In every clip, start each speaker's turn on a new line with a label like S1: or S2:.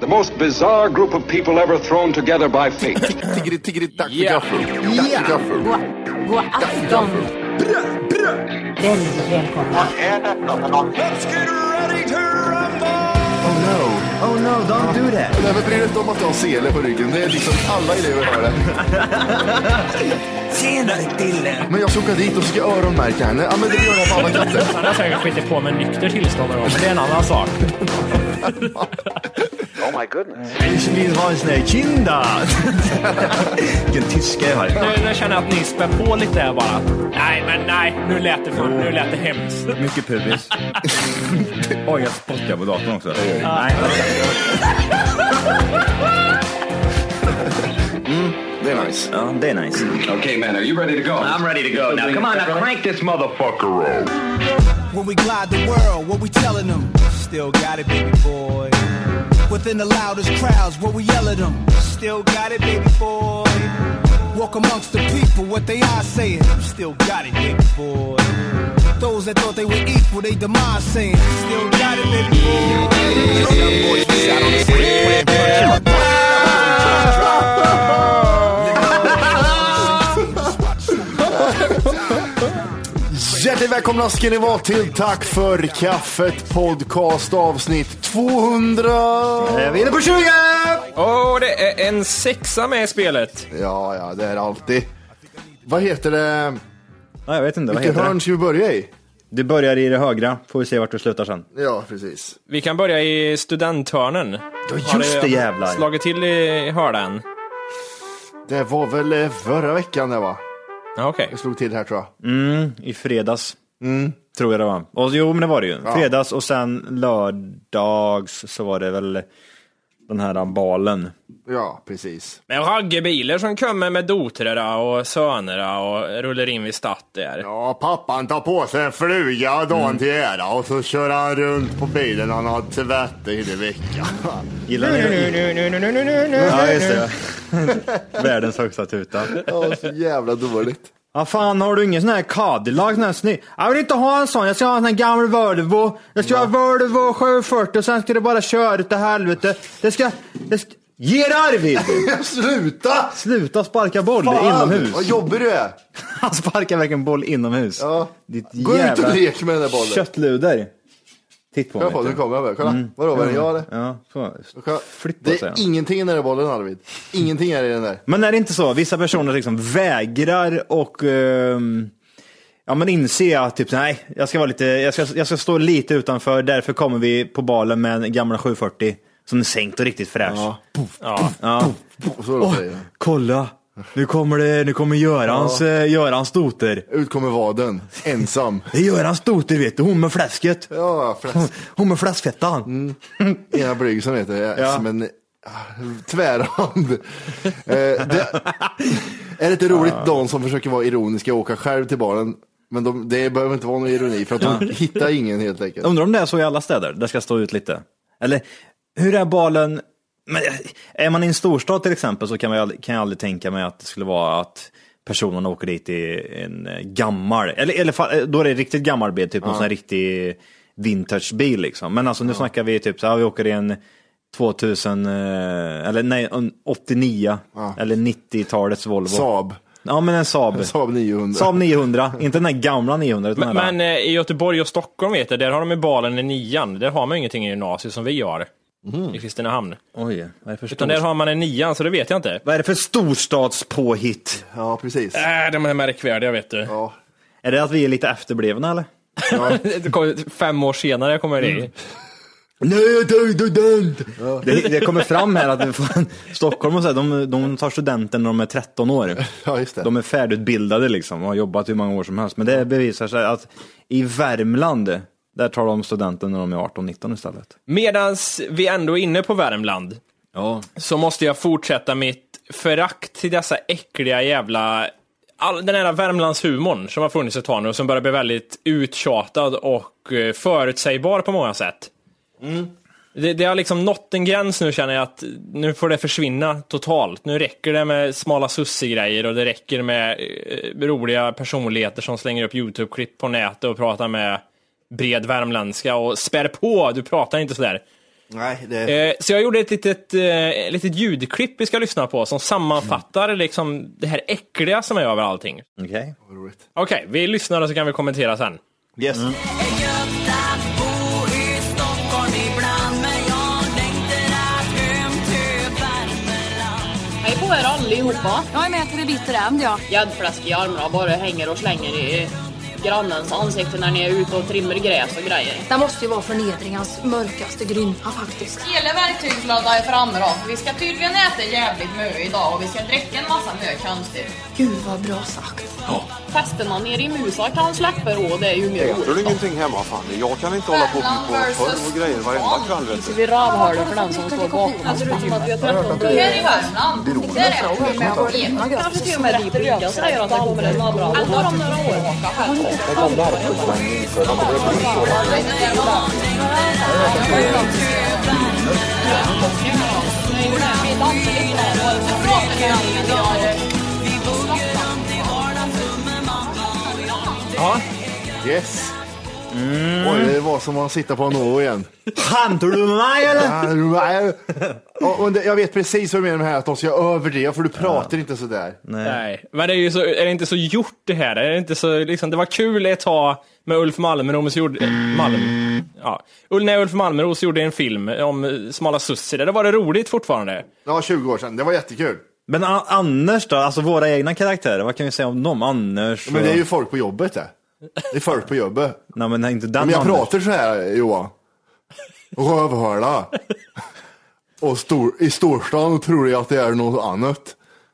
S1: The most bizarre group of people ever thrown together by fate.
S2: Tiggeri, tiggeri, tack för gaffel. Tack för gaffel.
S3: God, god afton! Väldigt välkomna.
S4: Oh no, oh no, don't do that.
S2: Nej, men bry dig inte om att du har sele på ryggen. Det är liksom alla elever har det.
S4: Tjenare killen!
S2: Men jag ska åka dit och ska öronmärka henne. Ja, men det gör jag på alla katter.
S5: Han har säkert skitit på med nykter tillstånd och det är en annan sak.
S4: Ich vill ha en sån här kinda. Vilken tyska jag har.
S5: Nu, nu känner jag att ni spär på lite här bara. Nej, men nej. Nu lät det, för, nu lät det hemskt.
S6: Mycket pubis. Oj, jag spottar på datorn också. Nej,
S2: Det är nice.
S6: ja, det är nice.
S1: okay, man, are you ready to go?
S6: I'm ready to go. Now come on, now crank this motherfucker up.
S7: When we glide the world, what we telling them? Still got it, baby boy. Within the loudest crowds, what we yell at them? Still got it, baby boy. Walk amongst the people, what they are saying? Still got it, baby boy. Those that thought they were equal, they demise saying, Still got it, baby boy.
S2: Hjärtligt välkomna ska ni vara till Tack för kaffet podcast avsnitt 200.
S4: Vi är inne på 20!
S5: Åh, det är en sexa med i spelet.
S2: Ja, ja, det är det alltid. Vad heter det?
S6: Ja, jag vet inte, vad
S2: Vilket
S6: heter
S2: hörn
S6: det?
S2: ska vi börja i?
S6: Du börjar i det högra, får vi se vart du slutar sen.
S2: Ja, precis.
S5: Vi kan börja i studenthörnen.
S6: Ja, just det jävlar.
S5: Slagit till i hörnan.
S2: Det var väl eh, förra veckan det va?
S5: Ja, Okej.
S2: Jag slog till här tror jag.
S6: I fredags. Tror jag det var. Och, jo, men det var det ju. Fredags och sen lördags så var det väl den här balen.
S2: Ja, precis.
S5: Men raggebilar som kommer med dotrarna och sönerna och rullar in vid stadt där.
S2: Ja, pappan tar på sig en fluga dagen
S6: Mm.
S2: till ära och så kör han runt på bilen han har tvättat i veckan.
S6: Gillar ni det? Ja, just det. Världens högsta tuta.
S2: Ja, så jävla dåligt.
S6: Ja, fan har du ingen sån här Cadillac, sån här snygg? Jag vill inte ha en sån, jag ska ha en sån här gammal Volvo. Jag ska ha Volvo 740 och sen ska det bara köra utav helvete. Det ska... Det ska... Ge dig Arvid!
S2: Sluta!
S6: Sluta sparka boll inomhus.
S2: Vad jobbig du är.
S6: Han sparkar verkligen boll inomhus.
S2: Ja.
S6: Ditt
S2: Gå ut
S6: jävla
S2: och lek med den där bollen.
S6: Köttluder. Titt på
S2: Kolla
S6: mig.
S2: på, nu
S6: vet du.
S2: kommer jag med. Kolla. Vadå, vad är det jag eller?
S6: Ja, så.
S2: Kolla.
S6: Mm. Flytta
S2: Det
S6: säger
S2: är
S6: han.
S2: ingenting i den där bollen Arvid. Ingenting är i den där.
S6: Men är det inte så? Vissa personer liksom vägrar och ehm, ja, men inse att typ, nej, jag ska, vara lite, jag, ska, jag ska stå lite utanför, därför kommer vi på balen med en gamla 740 som är sänkt och riktigt fräsch.
S2: Så låter det.
S6: Kolla, nu kommer, det, nu kommer Görans, ja. Görans doter.
S2: Ut kommer vaden. Ensam.
S6: Det är Görans doter vet du, hon med fläsket.
S2: Ja, förresten.
S6: Hon med fläskfettan.
S2: Ena Bryggsson heter det.
S6: Ja.
S2: Som en ah, tvärhand. eh, det är lite roligt de som försöker vara ironiska och åka själv till baren. Men de, det behöver inte vara någon ironi för att de hittar ingen helt enkelt.
S6: Undrar om det är så i alla städer, det ska stå ut lite. Eller hur är balen? Men, är man i en storstad till exempel så kan, man, ju aldrig- kan jag aldrig tänka mig att det skulle vara att personen åker dit i en eh, gammal, eller, eller fa- eh, då är det riktigt gammal bil, typ en sån här riktig vintagebil liksom. Men alltså nu snackar vi typ så här, vi åker i en 2000, eh, eller nej, en 89 eller 90-talets Volvo.
S2: Saab.
S6: Ja, men en Saab.
S2: En Saab 900.
S6: Saab 900, inte den där gamla 900. Utan
S5: Men,
S6: den här.
S5: men eh, i Göteborg och Stockholm vet jag, där har de ju balen i nian. Där har man ju ingenting i gymnasiet som vi har
S6: Mhm.
S5: i Kristinehamn.
S6: Oj, vad är det för
S5: Utan där har man en nian, så det vet jag inte.
S6: Vad är det för storstadspåhitt?
S2: Ja, precis.
S5: Äh, de är märkvärdiga vet du.
S2: Ja.
S6: Är det att vi är lite efterblivna eller?
S5: Det kommer- Fem år senare kommer det i.
S6: Nej, du, du, du. Det, det kommer fram här att fan, Stockholm och så här, de, de tar studenten när de är 13 år.
S2: Ja, just det.
S6: De är färdigutbildade liksom och har jobbat hur många år som helst. Men det bevisar sig att i Värmland, där tar de studenten när de är 18-19 istället.
S5: Medans vi ändå är inne på Värmland
S6: Ja.
S5: så måste jag fortsätta mitt förakt till dessa äckliga jävla... All, den här Värmlandshumorn som har funnits ett tag nu och som börjar bli väldigt uttjatad och eh, förutsägbar på många sätt. Det, det har liksom nått en gräns nu känner jag att nu får det försvinna totalt. Nu räcker det med smala sussigrejer och det räcker med eh, roliga personligheter som slänger upp YouTube-klipp på nätet och pratar med bred värmländska och spär på, du pratar inte sådär.
S2: Nej, det...
S5: Eh, Så jag gjorde ett litet, eh, litet ljudklipp vi ska lyssna på som sammanfattar liksom det här äckliga som är över allting.
S6: Okej.
S5: Okej, vi lyssnar och så kan vi kommentera sen.
S2: Yes.
S3: Hej på er allihopa!
S8: Jag är med till det bittra änd, ja.
S3: Gäddfläsk i armarna bara hänger och slänger i grannens ansikte när ni är ute och trimmer gräs och grejer.
S9: Det måste ju vara förnedringens mörkaste grymma faktiskt.
S3: Hela verktygslådan är framme då. Vi ska tydligen äta jävligt mycket idag och vi ska dricka en massa mycket konstigt.
S9: Gud vad bra sagt.
S3: Festerna nere i Musa kan släppa och det är ju mer
S10: Äter du
S3: roligt.
S10: ingenting hemma Fanny? Jag kan inte hålla på med porrfilm och grejer varenda kväll vet du.
S3: Vi ravhörde för den som står bakom oss. Här i Värmland, där äter vi med vår Kanske till och med de brygga säger att det kommer en bra. Allt har de några år åka själv.
S5: Ja,
S2: Yes.
S6: Mm.
S2: Oj, det var som att sitta på en å igen.
S6: Skämtar du med mig eller?
S2: Ah, nej. Och, och det, jag vet precis vad du menar med att de ska överdriva, för du pratar inte sådär.
S5: nej. Men det är ju så, är det inte så gjort det här? Är det inte så, liksom, det var kul ett tag med Ulf Malmros gjorde... eh, Malm? Ja. Ul- När Ulf Malmros gjorde en film om eh, smala sussi, där var det roligt fortfarande.
S2: Ja, 20 år sedan. Det var jättekul.
S6: Men A- Anders då, alltså våra egna karaktärer, vad kan vi säga om dem? Anders?
S2: Men det är ju
S6: och-
S2: folk på jobbet det. Det är folk på jobbet.
S6: Nej men inte den
S2: Men jag
S6: Anders.
S2: pratar så här Johan. Rövhåla. Och stor, i storstan tror jag att det är något annat.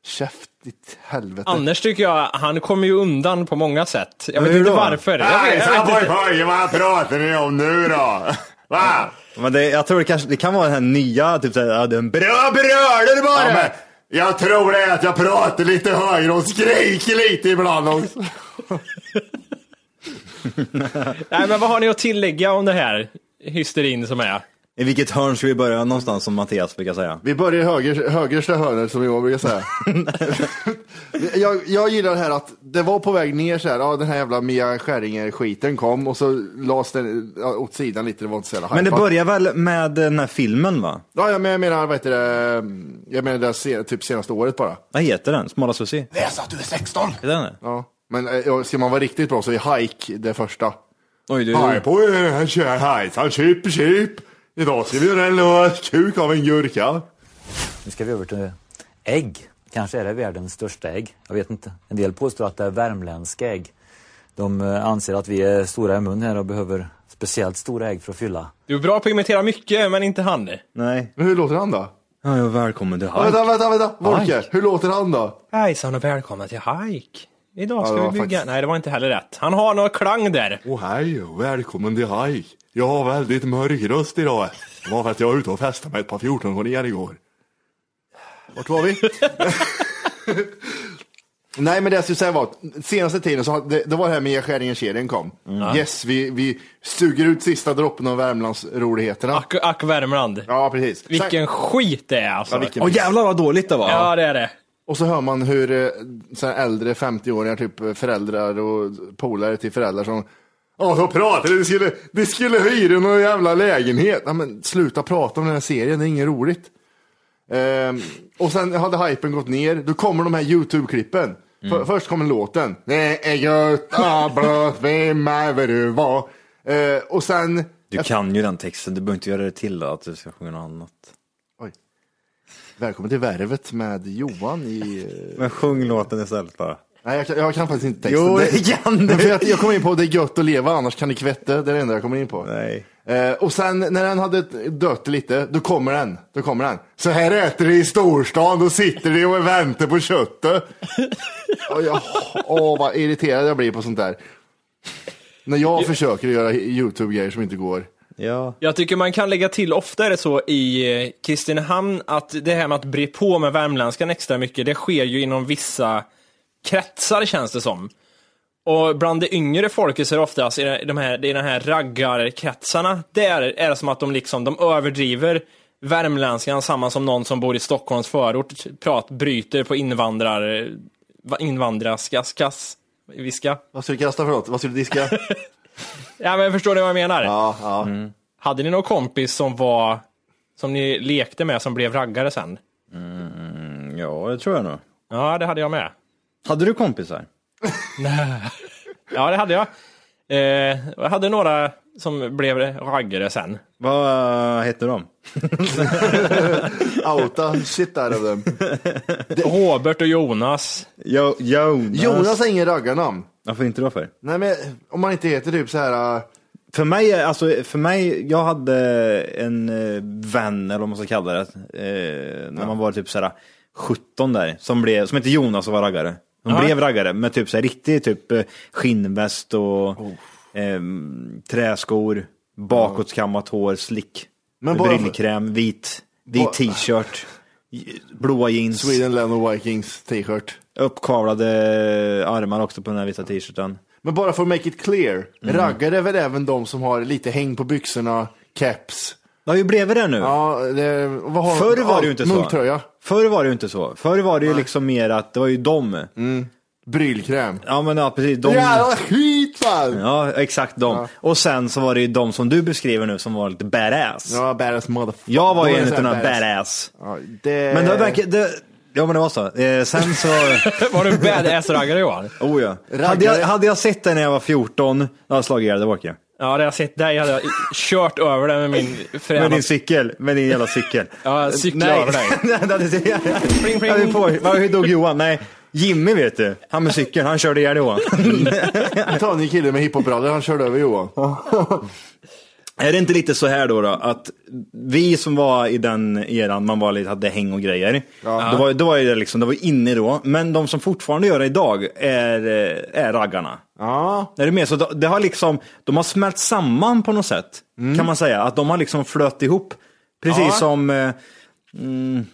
S2: Käft ditt helvete.
S5: Anders tycker jag, han kommer ju undan på många sätt. Jag
S6: Men
S5: vet
S6: hur
S5: inte
S6: då?
S5: varför. Jag vet, jag vet inte.
S2: pojk, vad pratar ni om nu då? Va?
S6: Men det, jag tror det, kanske, det kan vara den här nya, typ såhär, ja, den bra
S2: berörde du
S6: bara?
S2: jag tror det är att jag pratar lite högre och skriker lite ibland också.
S5: Nej, men vad har ni att tillägga om det här hysterin som är?
S6: I vilket hörn ska vi börja någonstans som Mattias brukar säga?
S2: Vi börjar i höger, högersta hörnet som Johan brukar säga. jag, jag gillar det här att det var på väg ner så här, ja den här jävla Mia Skäringer-skiten kom och så lades den ja, åt sidan lite, det var inte så jävla
S6: Men det
S2: hypat.
S6: börjar väl med den här filmen va?
S2: Ja, jag menar, jag menar, vad heter det, jag menar det här se, typ senaste året bara.
S6: Vad heter den? Smala Susie?
S10: Läs att du är 16!
S6: Heter den det?
S2: Ja. Men eh, ja, ska man vara riktigt bra så är Hike det första.
S6: Oj, du.
S2: Hej Mm. på er, här kör hejsan, chip chip. Idag ska vi göra en lös kuk av en gurka.
S11: Nu ska vi över till ägg. Kanske är det världens största ägg. Jag vet inte. En del påstår att det är värmländska ägg. De eh, anser att vi är stora i mun här och behöver speciellt stora ägg för att fylla.
S5: Du är bra på att imitera mycket, men inte han.
S6: Nej.
S2: Men hur låter han då?
S6: Ja, ja, välkommen till
S2: Ja,
S6: Hike.
S2: vänta, vänta, vänta, Volker, hur låter han då?
S5: Hejsan och välkomna till Hike. Idag ska
S2: Ja, det
S5: vi
S2: var
S5: bygga...
S2: faktiskt-
S5: Nej, det var inte heller rätt. Han har någon klang där.
S2: Åh hej och välkommen till Haj. Jag har väldigt mörk röst idag. Det var för att jag var ute och festade med ett par 14-åringar igår. Vart var vi? Nej men det jag skulle säga var att senaste tiden så har- det, det var det här med skäringen kedjan kom. Yes, vi, vi suger ut sista droppen av Värmlandsroligheterna.
S5: Ack, ack Värmland.
S2: Ja precis.
S5: Vilken skit det är alltså.
S2: Ja,
S5: Ja,
S2: vilken-
S6: Åh jävlar vad dåligt det var.
S5: det är det.
S2: Och så hör man hur eh, så här äldre 50-åringar, typ eh, föräldrar och polare till föräldrar som Ja, de pratade, de skulle, de skulle hyra någon jävla lägenhet. Ja, men sluta prata om den här serien, det är inget roligt. Ehm, och sen hade hypen gått ner, då kommer de här YouTube-klippen. För, först kommer låten. Det är Göta blöt, vem är vad du var? Eh, och sen...
S6: Du kan ju den texten, du behöver inte göra det till att du ska sjunga något annat.
S2: Välkommen till Värvet med Johan i... eh,
S6: Men sjung låten istället bara.
S2: Nej, jag kan, jag kan faktiskt inte texten.
S6: Jo,
S2: Det-
S6: det kan du.
S2: För jag, jag kommer in på det är gött att leva, annars kan ni kvätte. Det är det enda jag kommer in på.
S6: Nej.
S2: Eh, och sen när den hade dött lite, då kommer den. Då kommer den. Så här äter de i storstan, då sitter de och väntar på köttet. Åh, jag, åh, vad irriterad jag blir på sånt där. När jag försöker göra YouTube-grejer som inte går.
S6: Ja.
S5: Jag tycker man kan lägga till oftare så i eh, Kristinehamn att det här med att bre på med värmländskan extra mycket, det sker ju inom vissa kretsar känns det som. Och bland det yngre folket så är det oftast i de här, i de här raggarkretsarna, där är det som att de liksom, de överdriver värmländskan samma som någon som bor i Stockholms förort prat, bryter på invandrar, va- invandraskas, kas, viska.
S2: Vad skulle du kasta för något? Vad skulle du diska?
S5: Ja men förstår ni vad jag menar? Mm.
S2: Ja, ja.
S5: Hade ni någon kompis som var, som ni lekte med som blev raggare sen?
S6: Mm, ja, det tror jag nog.
S5: Ja, det hade jag med.
S6: Hade du kompisar?
S5: Ja, det hade jag. Eh, jag hade några som blev raggare sen.
S6: Vad hette de?
S2: Outa shit out of them.
S5: Robert och Jonas.
S6: Jo, Jonas.
S2: Jonas har ingen raggarnamn.
S6: Varför inte då för?
S2: Nej, men om man inte heter typ så här... eh,
S6: För mig, är- alltså, för mig, jag hade en eh, vän, eller vad man ska kalla det, eh, när man var typ såhär 17 där, som, blev, som hette Jonas och var raggare. Hon
S5: Ja.
S6: blev raggare med typ såhär riktig typ eh, skinnväst och eh, träskor, bakåtkammat hår, slick,
S2: Men bara-
S6: brillkräm, vit, vit
S2: Bara-
S6: t-shirt, blåa jeans,
S2: Sweden Land Vikings t-shirt.
S6: uppkavlade armar också på den här vita t-shirten.
S2: Men bara för att make it clear,
S6: Mm.
S2: raggare är väl även de som har lite häng på byxorna, caps.
S6: Det har ju blivit det nu.
S2: Ja, det, vad har
S6: Förr var det ju inte så.
S2: Munktröja,
S6: Förr var det ju inte så. Förr var det ju liksom mer att det var ju de.
S2: brylkräm.
S6: Ja men ja, precis. De...
S2: Jävla skit fan!
S6: Ja, exakt de. Och sen så var det ju de som du beskriver nu som var lite badass.
S2: Ja, badass motherfucker.
S6: Jag var ju
S2: Då är
S6: en
S2: det så
S6: utav
S2: här Eh.
S6: de badass.
S2: Ja, det...
S6: Men det verkar... Det... Ja men det var så. Eh, sen så...
S5: Var du badass-raggare Johan?
S6: oh ja.
S2: Raggare.
S6: Hade jag, hade jag sett det när jag var 14, då hade jag slagit ihjäl dig Walker.
S5: Ja, det har jag sett dig hade jag kört över dig med min fräna...
S6: Med din cykel. Med din jävla cykel.
S5: Ja, jag cyklade över dig.
S6: Nej, det hade-
S5: Pling, pling.
S6: Ja, vi får- Var- Hur dog Johan? Nej, Jimmy vet du. Han med cykeln, han körde ihjäl Johan.
S2: En tanig kille med hiphopbrallor, han körde över Johan.
S6: Är det inte lite så här då, då att vi som var i den eran, man var lite, hade häng och grejer. Då, var, då var ju det liksom, det var inne då. Men de som fortfarande gör det idag är, eh, är raggarna.
S2: Ja,
S6: Är du med? Så det det har liksom, de har smält samman på något sätt, kan man säga. Att de har liksom flöt ihop. Precis
S2: Mm. Ja.
S6: som, eh,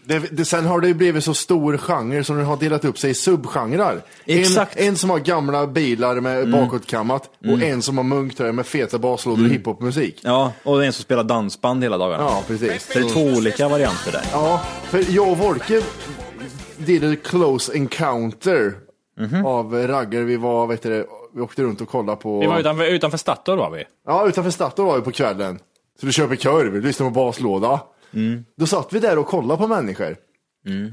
S2: det, det, sen har det ju blivit så stor genre som den har delat upp sig i subgenrer.
S6: Exakt. Mm.
S2: En, en som har gamla bilar med bakåtkammat och en som har munktröja med feta baslådor och hiphopmusik.
S6: ja, och det är en som spelar dansband hela dagarna.
S2: Ja, precis.
S6: Så det är två olika varianter där.
S2: Ja, för jag och Volke did a close encounter
S6: Mhm.
S2: av raggare. Vi var, vet du, det, vi åkte runt och kollade på...
S5: Vi var utanför, utanför Statoil var vi.
S2: Ja, utanför Statoil var vi på kvällen. Så du köper korv, lyssnar på baslåda.
S6: Mm.
S2: Då satt vi där och kollade på människor.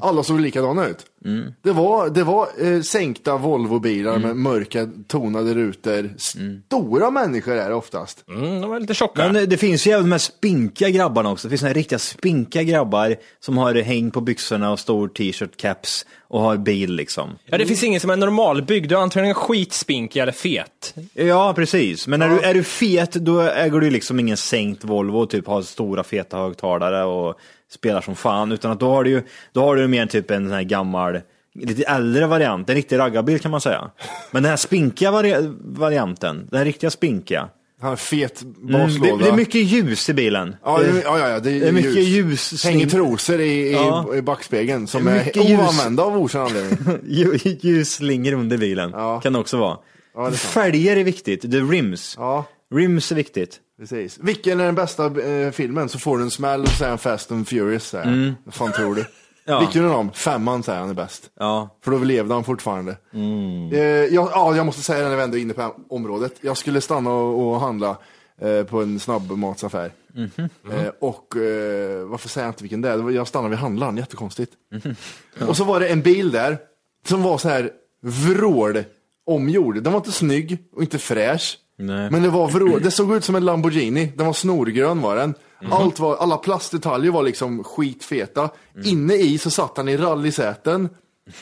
S2: Alla såg likadana ut.
S6: Mm.
S2: Det var, det var eh, sänkta Volvobilar med mörka tonade rutor.
S6: Mm.
S2: Stora människor är det oftast.
S5: Mm, de var lite tjocka.
S6: Men eh, det finns ju även de här spinkiga grabbarna också. Det finns såna här riktiga spinkiga grabbar som har häng på byxorna och stor t-shirt, caps och har bil liksom.
S5: Ja, det finns ingen som är normalbyggd. Du är antingen skitspinkig eller fet.
S6: Ja, precis. Men är, du, är du fet, då äger du liksom ingen sänkt Volvo och typ har stora feta högtalare och spelar som fan. Utan att då har du ju, då har du mer typ en sån här gammal, lite äldre variant. En riktig raggarbil kan man säga. Men den här spinkiga vari- varianten, den här riktiga spinkiga.
S2: Han har fet baslåda.
S6: Mm, det, det är mycket ljus i bilen.
S2: Ja, det, ja, ja, ja, det är,
S6: Det är mycket ljus.
S2: Hänger trosor i, i,
S6: Ja.
S2: i backspegeln som
S6: Det är
S2: är,
S6: mycket ljus.
S2: oanvända av okänd anledning.
S6: Ju- Ljusslingor under bilen
S2: Ja.
S6: kan det också vara.
S2: det är sant.
S6: Fälgar är viktigt, det är rims.
S2: Ja,
S6: Rims är viktigt.
S2: precis. Vilken är den bästa eh, filmen? Så får du en smäll och säger han Fast and Furious. Säger han. Vad fan tror du?
S6: Mm. Ja.
S2: Vilken av dem? Femman säger han är bäst.
S6: Ja.
S2: För då levde han fortfarande.
S6: Mm.
S2: Eh, jag, ja, jag måste säga det när vi ändå är inne på området. Jag skulle stanna och, och handla eh, på en snabbmatsaffär.
S6: Mhm.
S2: Eh, och eh, varför säger jag inte vilken det är? Det var- Jag stannade vid handlaren, jättekonstigt. Och så var det en bil där som var så här vrål omgjord. Den var inte snygg och inte fräsch. Men det var vrål. Det såg ut som en Lamborghini. Den var snorgrön var den. Allt var, alla plastdetaljer var liksom skitfeta. Inne i så satt han i rallysäten.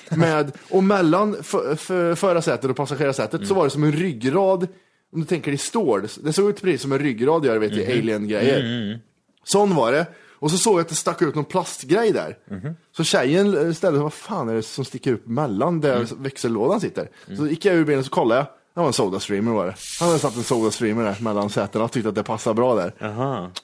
S2: Med, och mellan f- f- förarsätet och passagerarsätet så var det som en ryggrad. Om du tänker i stål. Det såg ut precis som en ryggrad gör vet, i alien-grejer. Sån var det. Och så såg jag att det stack ut någon plastgrej där. Så tjejen eh, ställde sig, vad fan är det som sticker upp mellan där växellådan sitter? Så gick jag ur bilen och så kollade jag. Det var en Sodastreamer var det. Han hade satt en Sodastreamer där mellan sätena och tyckte att det passade bra där.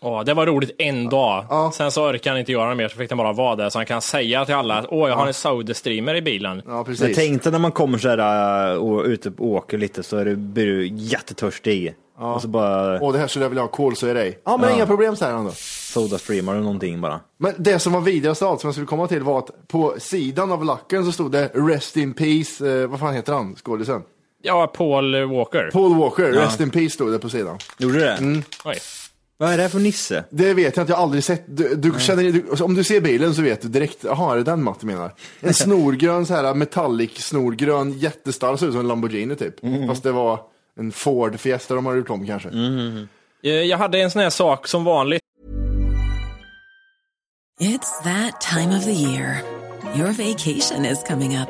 S5: Ja, det var roligt en dag. Sen så orkade han inte göra det mer, så fick den bara vara där. Så han kan säga till alla att åh, jag har en Saudi-streamer i bilen.
S2: Ja,
S6: Men tänk dig när man kommer så här äh, och ute och åker lite så är du, blir du jättetörstig. Och så bara...
S2: Åh, det här skulle jag vilja ha kol så är det. Ja, men inga problem säger han då.
S6: Soda streamar eller någonting bara.
S2: Men det som var vidrigast av allt som jag skulle komma till var att på sidan av lacken så stod det Rest in Peace, eh, vad fan heter han, skådisen?
S5: Ja, Paul Walker.
S2: Paul Walker,
S5: Ja.
S2: Rest in Peace stod det på sidan.
S6: Gjorde det?
S2: Mm.
S5: Oj.
S6: Vad är det här för nisse?
S2: Det vet jag inte, jag har aldrig sett. Du, du känner, du, om du ser bilen så vet du direkt, jaha är det den Matte menar? En snorgrön så här metallic snorgrön jättestark, såg ut som en Lamborghini typ.
S6: Mm.
S2: Fast det var en Ford Fiesta de hade gjort om kanske.
S5: Eh, Jag hade en sån här sak som vanligt.
S12: It's that time of the year. Your vacation is coming up.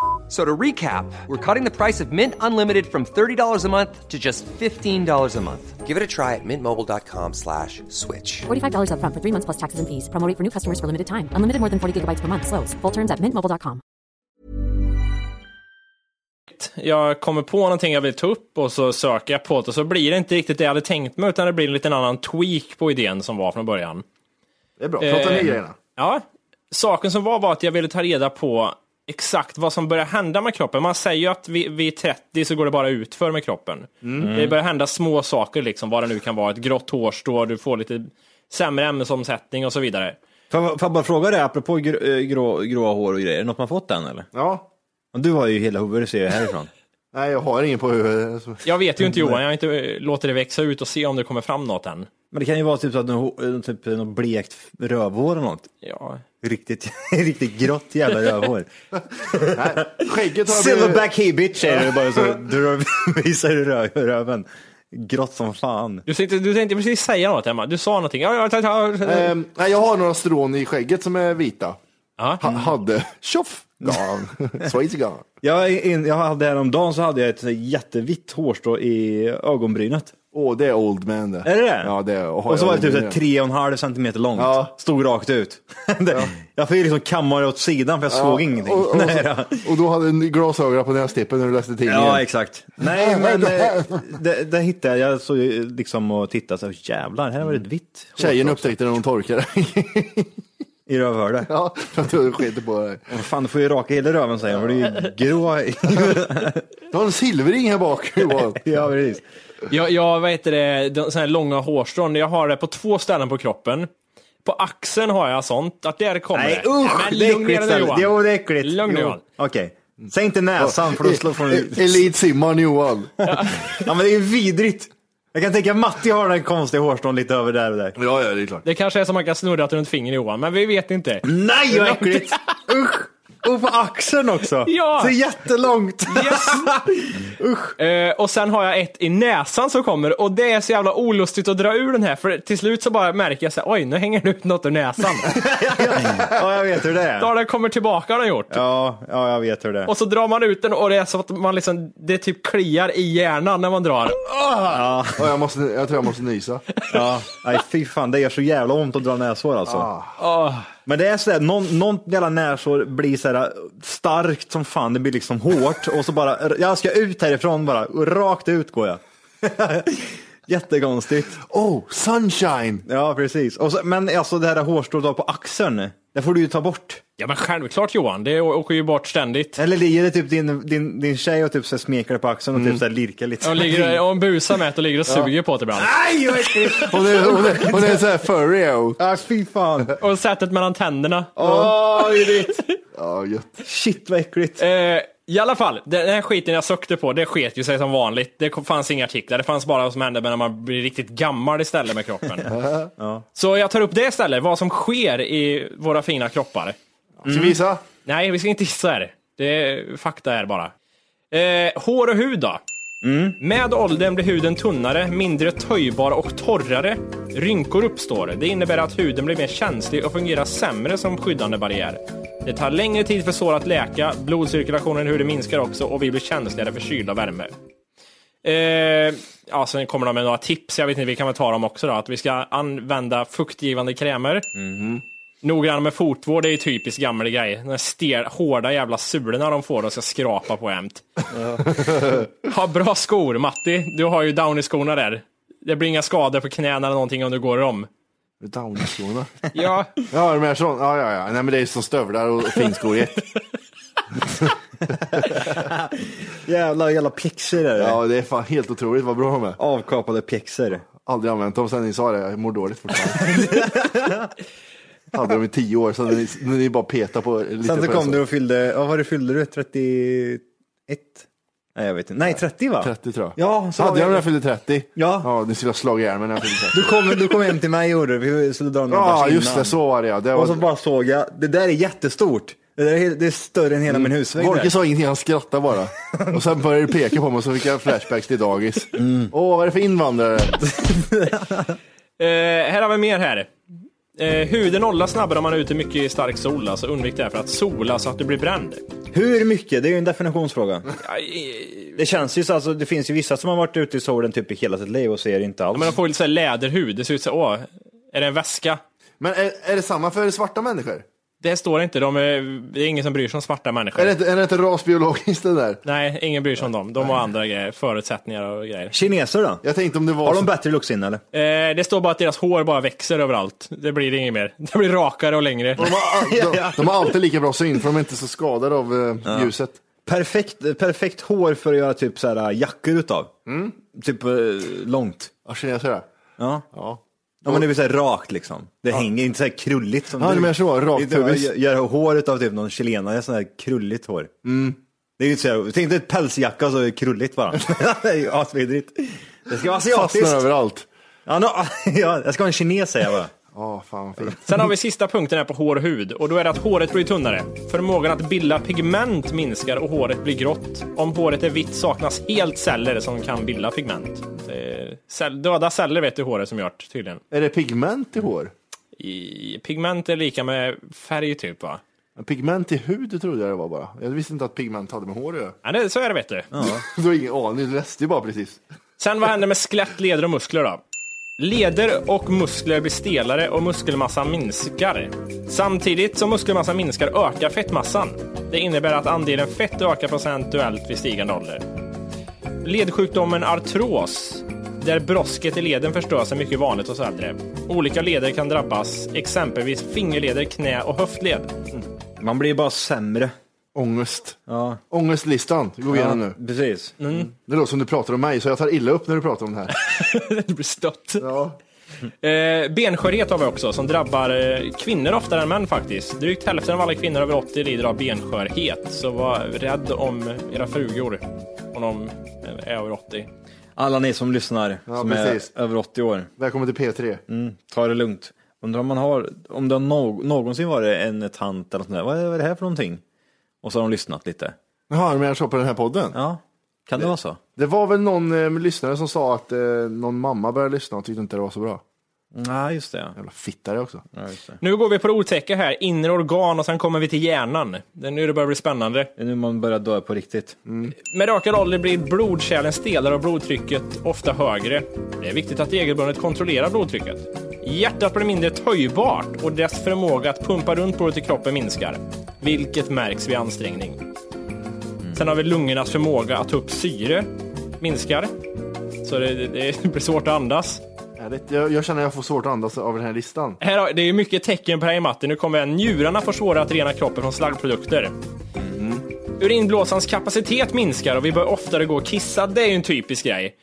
S13: So to recap, we're cutting the price of Mint Unlimited from $30 a month to just $15 a month. Give it a try at mintmobile.com slash switch.
S8: $45 up front for three months plus taxes and fees. Promo rate for new customers for limited time. Unlimited more than 40 gigabytes per month. Slows. Full terms at mintmobile.com.
S5: Jag kommer på någonting jag vill ta upp och så söker jag på det och så blir det inte riktigt det jag hade tänkt mig utan det blir en liten annan tweak på idén som var från början.
S2: Det är bra, prata
S5: Eh,
S2: ner grejerna.
S5: Ja, saken som var var att jag ville ta reda på exakt vad som börjar hända med kroppen. Man säger ju att vid, vid 30 så går det bara ut för med kroppen.
S6: Mm.
S5: Det börjar hända små saker, liksom, vad det nu kan vara. Ett grått hårstrå, du får lite sämre ämnesomsättning och så vidare.
S6: Får jag- får jag bara fråga dig, apropå gr- eh, grå, gråa hår och grejer, något man fått än eller?
S2: Ja.
S6: Du har ju hela huvudet ser jag härifrån.
S2: Nej, jag har ingen på huvudet. Alltså, så-
S5: Jag vet ju inte Johan, jag har inte eh, låtit det växa ut och se om det kommer fram något än.
S6: Men det kan ju vara typ så att du, eh, typ något blekt rövhår eller något.
S5: Ja.
S6: Riktigt, riktigt grått jävla rövhår.
S2: Skägget har blivit-
S6: Silverback he bitch säger du bara så. Du visar du rö- röven. Grått som fan.
S5: Du tänkte, du tänkte precis säga något Emma, du sa någonting. Ja, ja, ja, ja, ja.
S2: Ehm, nej, jag har några strån i skägget som är vita.
S5: Ha,
S6: Mm.
S2: hade, tjoff, gone. Så is gone.
S6: Jag, är in, jag hade häromdagen så hade jag ett så här jättevitt hårstrå i ögonbrynet.
S2: Åh, det är old man det.
S6: Är det det?
S2: Ja, det är, har
S6: Och så
S2: jag
S6: var det typ så här
S2: med.
S6: tre och en halv centimeter långt. Stod rakt ut. Det- Jag fick liksom kamma det åt sidan för jag såg ingenting.
S2: Och, och,
S6: Nej, då.
S2: och då hade du glasögon på nästippen när du läste tidningen.
S6: Ja, exakt. Nej, men eh, det, det hittade jag. Jag såg ju liksom och tittade så här, jävlar, här var det ett vitt.
S2: Tjejen upptäckte när hon torkade.
S6: I rövhålet?
S2: Ja, för att du skiter på dig.
S6: Fan, du får ju raka hela röven säger hon, för det är ju grå.
S2: Du har en silvering här bak Johan.
S6: ja, precis.
S5: Jag, jag vad heter det, de, såna här långa hårstrån, jag har det på två ställen på kroppen. På axeln har jag sånt, att där kommer
S6: Nej
S5: det.
S6: usch,
S5: Men
S6: det är
S5: lugn ner
S6: äckligt.
S5: dig,
S6: Stanley.
S5: Johan.
S6: Jo, det är äckligt.
S5: Lugn nu
S6: Jo.
S5: Johan.
S6: Okej. Säg inte näsan för då slår från
S2: E- Elitsimmaren Johan.
S6: Ja, men det är vidrigt. Jag kan tänka att Matti har den konstiga hårstrån lite över där och där.
S2: Ja, ja, det är klart.
S5: Det kanske är som man kan snurra runt fingret Johan, men vi vet inte.
S6: Nej, vad äckligt! Usch! Och på axeln också.
S5: Ja.
S6: Så jättelångt.
S5: Yes. Eh, och sen har jag ett i näsan som kommer och det är så jävla olustigt att dra ur den här för till slut så bara märker jag så här, oj nu hänger det ut något ur näsan.
S6: ja, jag vet hur det
S5: Då
S6: är.
S5: har den kommer tillbaka har den gjort.
S6: Ja, ja, jag vet hur det är.
S5: Och så drar man ut den och det är som att man liksom, det typ kliar i hjärnan när man drar.
S6: Ja,
S2: Ja, jag, måste, jag tror jag måste nysa.
S6: ja. Nej, fy fan, det gör så jävla ont att dra näshår alltså.
S5: Åh.
S6: Men det är sådär, någon, någon jävla näshår blir äh, sådär starkt som fan, det blir liksom hårt och så bara, jag ska ut härifrån bara, och rakt ut går jag. Jättekonstigt.
S2: Oh, sunshine!
S6: Ja, precis. Och så, men alltså det här hårstrået du har på axeln, det får du ju ta bort.
S5: Ja, men självklart Johan, det å- åker ju bort ständigt.
S6: Eller ligger det typ din, din, din tjej och typ så här smeker dig på axeln och typ så här lirkar lite?
S5: Hon, ligger, hon busar med det och ligger och
S6: Ja.
S5: suger på det ibland.
S6: Aj, vad äckligt!
S2: Hon är, hon är, hon är så här furry. och-
S6: Ah, fy fan.
S5: Och sättet mellan tänderna.
S6: Åh, oh, vidrigt.
S2: Ja, gött.
S6: Shit vad äckligt.
S5: Eh, I alla fall, den här skiten jag sökte på, det sket ju sig som vanligt. Det kom- fanns inga artiklar, det fanns bara vad som hände när man blir riktigt gammal istället med kroppen.
S6: Ja.
S5: Så jag tar upp det istället, vad som sker i våra fina kroppar. Mm.
S2: Ska vi gissa?
S5: Nej, vi ska inte gissa här. Det är fakta här bara. Eh, hår och hud då? Med åldern blir huden tunnare, mindre töjbar och torrare. Rynkor uppstår. Det innebär att huden blir mer känslig och fungerar sämre som skyddande barriär. Det tar längre tid för sår att läka, blodcirkulationen i huden minskar också och vi blir känsligare för kyla och värme. Eh, ja, sen kommer de med några tips, jag vet inte, vi kan väl ta dem också då. Att vi ska använda fuktgivande krämer. Noggrann med fotvård, det är ju typiskt gammal grej. De här stel, hårda jävla sulorna de får och ska skrapa på jämt. ha bra skor, Matti. Du har ju Downy-skorna där. Det blir inga skador på knäna eller någonting om du går i dem.
S2: Downy-skorna?
S5: Ja.
S2: Ja, de är sån. Ja, ja, ja. Nej, men det är som stövlar och finskor i ett.
S6: Jävla, jävla pjäxor är det.
S2: Ja, det är fan helt otroligt vad bra de är.
S6: Avkapade pjäxor.
S2: Aldrig använt dem sen ni sa det, jag mår dåligt fortfarande. Hade dem i tio år, sen ni, ni bara petade på lite.
S6: Sen
S2: på
S6: så
S2: det
S6: kom du och fyllde, vad var det fyllde du? 31? Nej, jag vet inte. Nej, 30 va?
S2: 30 tror jag.
S6: Ja, så
S2: hade jag när
S6: var det-
S2: jag fyllde 30?
S6: Ja.
S2: Ja, ni skulle ha slagit ihjäl mig när jag fyllde 30.
S6: Du kom, du kom hem till mig gjorde du, vi skulle dra några
S2: Ja,
S6: bärs
S2: just
S6: innan.
S2: det, så var det ja. Det
S6: Och så
S2: var...
S6: bara såg jag, det där är jättestort. Det, där är, helt- det är större än hela
S2: Mm.
S6: min husvägg. där.
S2: Volke sa ingenting, han skrattade bara. Och sen började det peka på mig och så fick jag flashbacks till dagis. Åh,
S6: Mm.
S2: vad är det för invandrare?
S5: Eh, här har vi mer här. Eh, huden åldras snabbare om man är ute mycket i stark sol, alltså undvik därför att sola så att du blir bränd.
S6: Hur mycket? Det är ju en definitionsfråga.
S5: Ja, eh,
S6: Det känns ju så, alltså, det finns ju vissa som har varit ute i solen typ i hela sitt liv och ser inte alls.
S5: men de får ju lite så här läderhud, det ser ut så här, åh, är det en väska?
S2: Men är, är det samma för svarta människor?
S5: Det står inte, de är, det är ingen som bryr sig om svarta människor.
S2: Är det, inte- är det inte rasbiologiskt det där?
S5: Nej, ingen bryr sig om dem. De har andra grejer, förutsättningar och grejer.
S6: Kineser då?
S2: Jag tänkte om det var...
S6: Har
S2: så-
S6: de bättre luktsinne eller?
S5: Eh, det står bara att deras hår bara växer överallt. Det blir inget mer. Det blir rakare och längre.
S2: De har, de, de har alltid lika bra syn för de är inte så skadade av eh, ljuset.
S6: Perfekt, perfekt hår för att göra typ så här jackor utav.
S2: Mm.
S6: Typ eh, långt.
S2: Ja, kineser det.
S6: Ja.
S2: Ja.
S6: ja, men det blir så här rakt liksom. Det hänger inte så här krulligt. Som
S2: Ja,
S6: du
S2: du menar så, rakt
S6: Inte-
S2: pubis.
S6: gö- Göra hår utav typ någon chilenare, sån här krulligt hår.
S2: Mm.
S6: Det är ju inte så här, tänk dig ett pälsjacka och så är det krulligt bara. det är ju asvidrigt. Det ska vara asiatiskt.
S2: Fastnar överallt.
S6: Ja, no, ja, jag ska ha en kines säger jag bara.
S2: Ja, fan vad fint.
S5: Sen har vi sista punkten här på hår och hud och då är det att håret blir tunnare. Förmågan att bilda pigment minskar och håret blir grått. Om håret är vitt saknas helt celler som kan bilda pigment. Det är Cell, döda celler vet du håret som gjort tydligen.
S2: Är det pigment i hår?
S5: I, pigment är lika med färg typ va?
S2: Pigment i hud trodde jag det var bara. Jag visste inte att pigment hade med hår att göra.
S5: Ja, det, så är det vet du.
S2: Du har ingen aning, du läste ju bara precis.
S5: Sen vad händer med skelett, leder och muskler då? Leder och muskler blir stelare och muskelmassan minskar. Samtidigt som muskelmassan minskar ökar fettmassan. Det innebär att andelen fett ökar procentuellt vid stigande ålder. Ledsjukdomen artros, där brosket i leden förstörs, är mycket vanligt hos äldre. Olika leder kan drabbas, exempelvis fingerleder, knä och höftled.
S6: Man blir bara sämre.
S2: Ångest.
S6: Ja,
S2: Ångestlistan, det går vi igenom nu.
S6: precis.
S2: Det låter som du pratar om mig, så jag tar illa upp när du pratar om det här.
S5: Du blir stött.
S2: Ja.
S5: Eh, benskörhet har vi också, som drabbar eh, kvinnor oftare än män faktiskt. Drygt hälften av alla kvinnor över 80 lider av benskörhet, så var rädd om era frugor om de eh, är över 80.
S6: Alla ni som lyssnar som
S2: precis.
S6: är över 80 år,
S2: Välkommen till P3.
S6: mm, ta det lugnt. Undrar om man har, om det har no- någonsin varit en tant eller något sånt där, vad är vad är det här för någonting? Och så har de lyssnat lite.
S2: Jaha, du menar så på den här podden?
S6: Ja, kan det, vara så?
S2: Det var väl någon eh, lyssnare som sa att eh, någon mamma började lyssna och tyckte inte det var så bra.
S6: Nej, just det. ja.
S2: Jävla fittare också.
S6: Ja, just det.
S5: Nu går vi på det otäcka här, inre organ och sen kommer vi till hjärnan. Det är nu det börjar bli spännande.
S6: Det är nu man börjar dö på riktigt.
S5: Med ökad ålder blir blodkärlen stelare och blodtrycket ofta högre. Det är viktigt att regelbundet kontrollerar blodtrycket. Hjärtat blir mindre töjbart och dess förmåga att pumpa runt blodet i kroppen minskar, vilket märks vid ansträngning. Sen har vi lungornas förmåga att ta upp syre minskar. så det, det, det blir svårt att andas.
S2: Härligt. Jag, jag känner att jag får svårt att andas av den här listan.
S5: Här har, det är ju mycket tecken på det här i matten. Nu kommer jag. Njurarna får svårare att rena kroppen från slaggprodukter. Urinblåsans kapacitet minskar och vi bör oftare gå och kissa. Det är ju en typisk grej.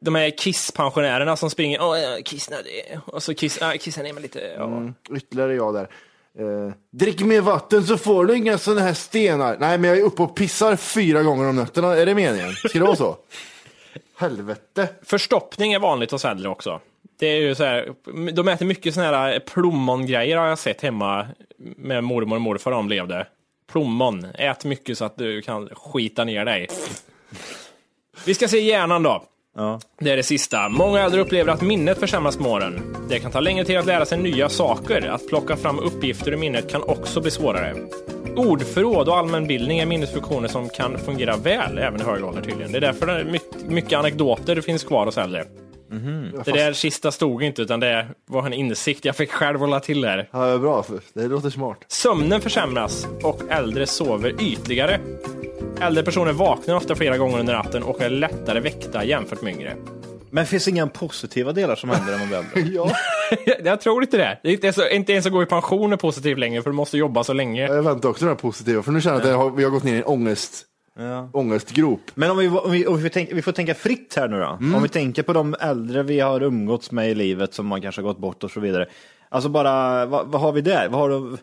S5: De här kisspensionärerna som springer Åh, jag är kissnödig. och så kiss, ah, kissar ner mig lite. Ja.
S2: Mm, ytterligare jag där. Eh, drick mer vatten så får du inga sådana här stenar. Nej, men jag är uppe och pissar fyra gånger om nätterna. Är det meningen? Ska det vara så? Helvete.
S5: Förstoppning är vanligt hos äldre också. Det är ju så här, de äter mycket såna här plommongrejer har jag sett hemma med mormor och morfar om de levde. Plommon, ät mycket så att du kan skita ner dig. Vi ska se hjärnan då. Det är det sista. Många äldre upplever att minnet försämras med åren. Det kan ta längre tid att lära sig nya saker. Att plocka fram uppgifter ur minnet kan också bli svårare. Ordförråd och allmänbildning är minnesfunktioner som kan fungera väl även i hög ålder tydligen. Det är därför det är mycket, mycket anekdoter finns kvar hos äldre. Det där sista stod inte utan det var en insikt jag fick själv hålla till här.
S2: Ja, bra. Det låter smart.
S5: Sömnen försämras och äldre sover ytligare. Äldre personer vaknar ofta flera gånger under natten och är lättare väckta jämfört med yngre.
S6: Men finns det inga positiva delar som händer när man blir äldre?
S5: jag tror inte det. det är inte, ens, inte ens att gå i pension är positivt längre för du måste jobba så länge.
S2: Jag väntar också den här positiva, för nu känner jag att jag har, vi har gått ner i en ångest, ångestgrop.
S6: Men om vi, om vi, om vi, tänk, vi får tänka fritt här nu då. Om vi tänker på de äldre vi har umgåtts med i livet som man kanske har gått bort och så vidare. Alltså bara, vad, vad har vi där? Vad har du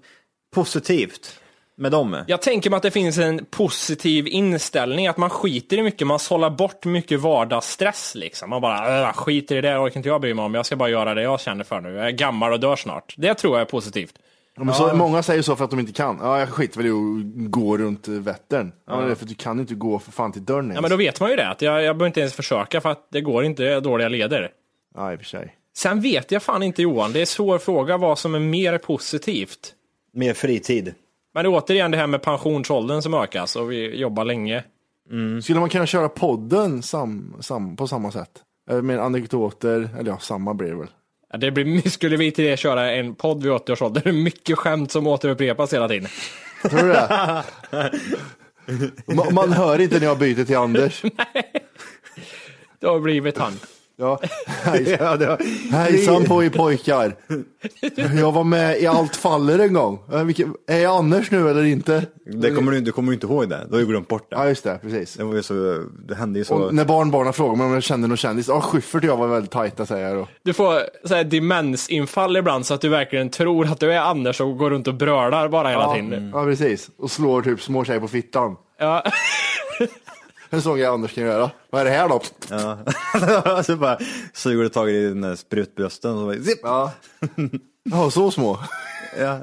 S6: positivt med dem?
S5: Jag tänker mig att det finns en positiv inställning, att man skiter i mycket, man sållar bort mycket vardagsstress liksom. Man bara "Äh, skiter i det, jag orkar inte jag bry mig om, jag ska bara göra det jag känner för nu. Jag är gammal och dör snart. Det tror jag är positivt.
S2: Ja, men så, Många säger så för att de inte kan. Ja, jag skiter väl i att gå runt Vättern. Ja, men det är för att du kan ju inte gå för fan till dörren ens.
S5: Ja, men då vet man ju det, att jag, jag behöver inte ens försöka för att det går inte, det är dåliga leder.
S2: Ja, i och för sig.
S5: Sen vet jag fan inte Johan, det är en svår fråga vad som är mer positivt.
S6: Mer fritid.
S5: Men det är återigen det här med pensionsåldern som ökas och vi jobbar länge.
S2: Skulle man kunna köra podden sam, sam, på samma sätt? Eh, Med anekdoter, eller ja, samma blir det väl.
S5: Ja, det blir, skulle vi till det köra en podd vid 80 års ålder, det är mycket skämt som återupprepas hela tiden.
S2: Tror du det? man, man hör inte när jag byter till Anders.
S5: Det har blivit han.
S2: Ja. Hejsan på er pojkar. Jag var med i Allt faller en gång. Eh, vilken- Är jag Anders nu eller inte?
S6: Det kommer du, du kommer ju inte ihåg det, du har ju glömt bort det.
S2: Ja, just det, precis.
S6: Det, var ju så, det hände ju så.
S2: Och när barnbarnen frågar mig om jag kände någon kändis, ja Schyffert och jag var väldigt tajta säger jag då.
S5: Du får så här demensinfall ibland så att du verkligen tror att du är Anders och går runt och brölar bara hela
S2: Ja,
S5: tiden.
S2: ja precis, och slår typ små tjejer på fittan.
S5: Ja.
S2: En sån grej Anders kan göra. Vad är det här då?
S6: Ja. så bara suger du tag i den där sprutbrösten och så bara, zip!
S2: Ja. Ja, så små.
S6: Ja.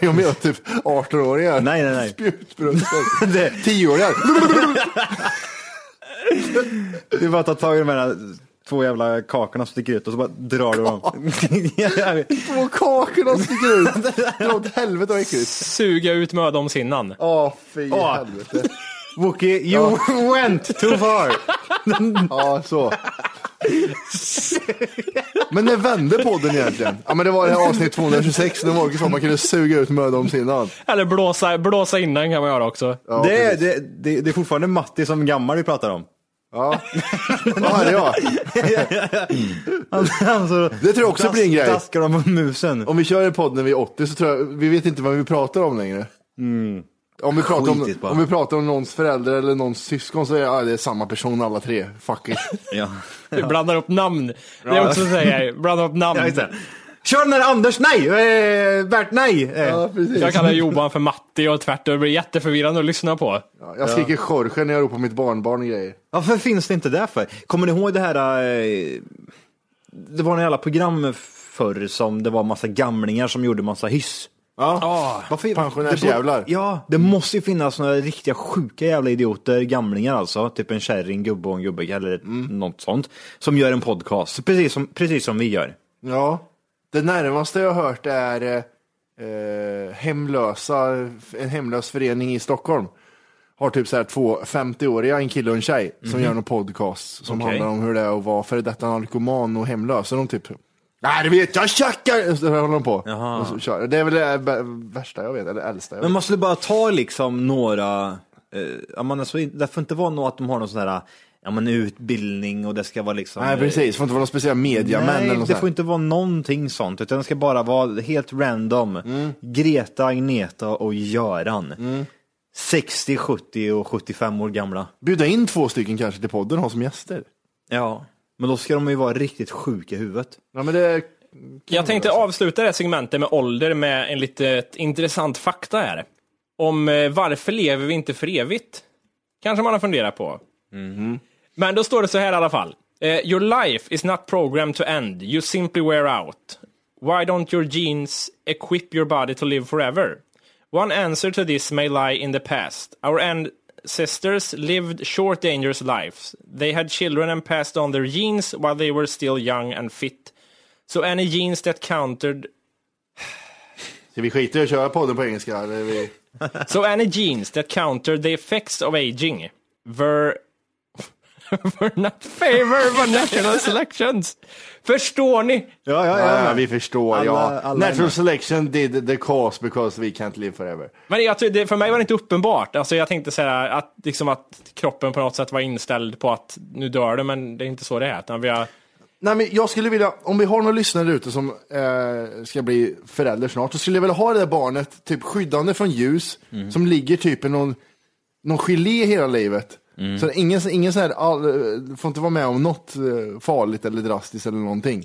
S2: Jag menar typ 18-åringar.
S6: Nej, nej, nej.
S2: Spjutbröstar. Tioåringar.
S6: Du bara tar tag i de här två jävla kakorna som sticker ut och så bara drar du dem.
S2: Två kakorna sticker ut. Dra åt helvete vad äckligt.
S5: Suga ut mödomshinnan.
S2: Ja, fy
S6: Ja.
S2: helvete.
S6: Wookie, you went too far!
S2: Ja, så. Men när vände podden egentligen? Ja, men det var det här avsnitt 226 när Morgan sa man kunde suga ut mödomshinnan.
S5: Eller blåsa, blåsa innan kan man göra också.
S2: Ja,
S6: det, är,
S2: precis.
S6: det, det, det är fortfarande Matti som gammal vi pratar om.
S2: Ja, ja det är jag.
S6: Mm. Han, han så
S2: Det tror jag också blir en grej.
S6: Daskar de på musen.
S2: Om vi kör en podd när vi är 80 så tror jag, vi vet inte vad vi pratar om längre. Om, vi pratar om,
S6: Mm. Skitigt bara.
S2: om vi pratar om någons förälder eller någons syskon så är ja, det är samma person alla tre. Fuck it.
S6: Ja.
S5: Du blandar upp namn. Det är också så här, blanda upp namn.
S6: Ja, just det. Kör den där Anders, nej! Eh, Bert, nej! Eh.
S2: Ja, precis.
S5: Jag kallar Johan för Matti och tvärtom. Det blir jätteförvirrande att lyssna på.
S2: Ja, jag skriker Jorge när jag ropar mitt barnbarn och grejer.
S6: Varför finns det inte det för? Kommer ni ihåg det här, eh, det var några jävla program förr som det var massa gamlingar som gjorde massa hyss.
S2: Ja.
S6: Varför-
S2: Pensionärsjävlar.
S6: det borde- Ja,
S2: Mm.
S6: det måste ju finnas några riktiga sjuka jävla idioter, gamlingar alltså, typ en kärring, gubbe och en gubbe eller
S2: Mm.
S6: något sånt, som gör en podcast, precis som, precis som vi gör.
S2: Ja, det närmaste jag har hört är eh, eh, hemlösa, en hemlös förening i Stockholm. Har typ så här två 50-åriga, en kille och en tjej, som gör en podcast som
S6: Mhm. Okej.
S2: handlar om hur det är att vara före detta narkoman och hemlös. Och de typ, nej det vet jag, tjackar! Så håller de på.
S6: Jaha.
S2: Och så kör. Det är väl det b- värsta jag vet, eller äldsta jag vet.
S6: Men man skulle bara ta liksom några, eh, ja, man alltså, det får inte vara något att de har någon sån här ja, men utbildning och det ska vara liksom...
S2: Nej precis, får inte vara någon speciell mediamän
S6: Nej,
S2: eller något
S6: det
S2: sånt.
S6: får inte vara någonting sånt, utan det ska bara vara helt random. Greta, Agneta och Göran. 60, 70 och 75 år gamla.
S2: Bjuda in två stycken kanske till podden och ha som gäster.
S6: Ja, men då ska de ju vara riktigt sjuka i huvudet.
S2: Ja, men det...
S5: Jag tänkte avsluta det här segmentet med ålder med en lite intressant fakta här. Om eh, varför lever vi inte för evigt? Kanske man har funderat på. Men då står det så här i alla fall. Eh, your life is not programmed to end. You simply wear out. Why don't your genes equip your body to live forever? One answer to this may lie in the past. Our ancestors lived short, dangerous lives. They had children and passed on their genes while they were still young and fit. So any genes that countered
S2: Ska vi skita i att köra podden på engelska? Eller är vi...
S5: So any genes that counter the effects of aging were were not favored by natural selections. Förstår ni?
S6: Ja,
S2: ja, vi förstår. ja.
S5: Alla- alla är med.
S2: Natural selection did the cause because we can't live forever.
S5: Men jag, tror- det, för mig var det inte uppenbart. Alltså jag tänkte säga att, liksom att kroppen på något sätt var inställd på att nu dör du, men det är inte så det är. Utan vi har,
S2: Nej, men jag skulle vilja, om vi har någon lyssnare ute som eh, ska bli förälder snart, så skulle jag vilja ha det där barnet typ skyddande från ljus, som ligger typ i någon, någon gelé hela livet. Så ingen, ingen så här, all, eh, får inte vara med om något eh, farligt eller drastiskt eller någonting.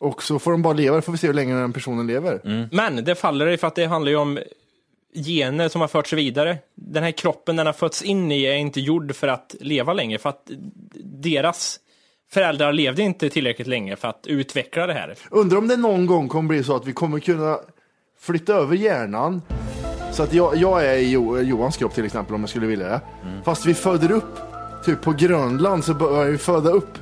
S2: Och så får de bara leva, då får vi se hur länge den personen lever.
S5: Men det faller ju för att det handlar ju om gener som har förts vidare. Den här kroppen den har fötts in i är inte gjord för att leva länge, för att deras föräldrar levde inte tillräckligt länge för att utveckla det här.
S2: Undrar om det någon gång kommer bli så att vi kommer kunna flytta över hjärnan så att jag, jag är i jo, Johans kropp till exempel om jag skulle vilja det.
S6: Mm.
S2: Fast vi föder upp, typ på Grönland så börjar vi föda upp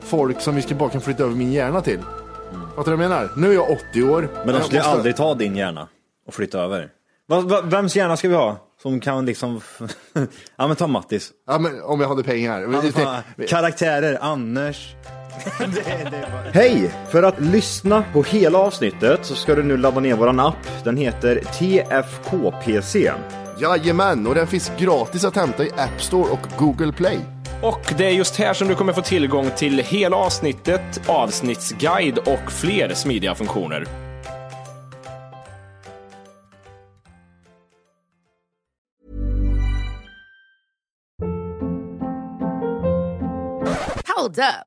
S2: folk som vi ska bara kan flytta över min hjärna till. Fattar du vad jag menar? Nu är jag 80 år.
S6: Mm. Men de
S2: Jag
S6: skulle
S2: måste-
S6: aldrig ta din hjärna och flytta över. Va, va, vems hjärna ska vi ha? Som kan liksom... ja men ta Mattis.
S2: Ja, men om jag hade pengar.
S6: Ja, men fan, Karaktärer, Anders. Hej! För att lyssna på hela avsnittet så ska du nu ladda ner våran app. Den heter TFKPC.
S2: Jajamän, och den finns gratis att hämta i App Store och Google Play.
S5: Och det är just här som du kommer få tillgång till hela avsnittet, avsnittsguide och fler smidiga funktioner.
S14: Hold up.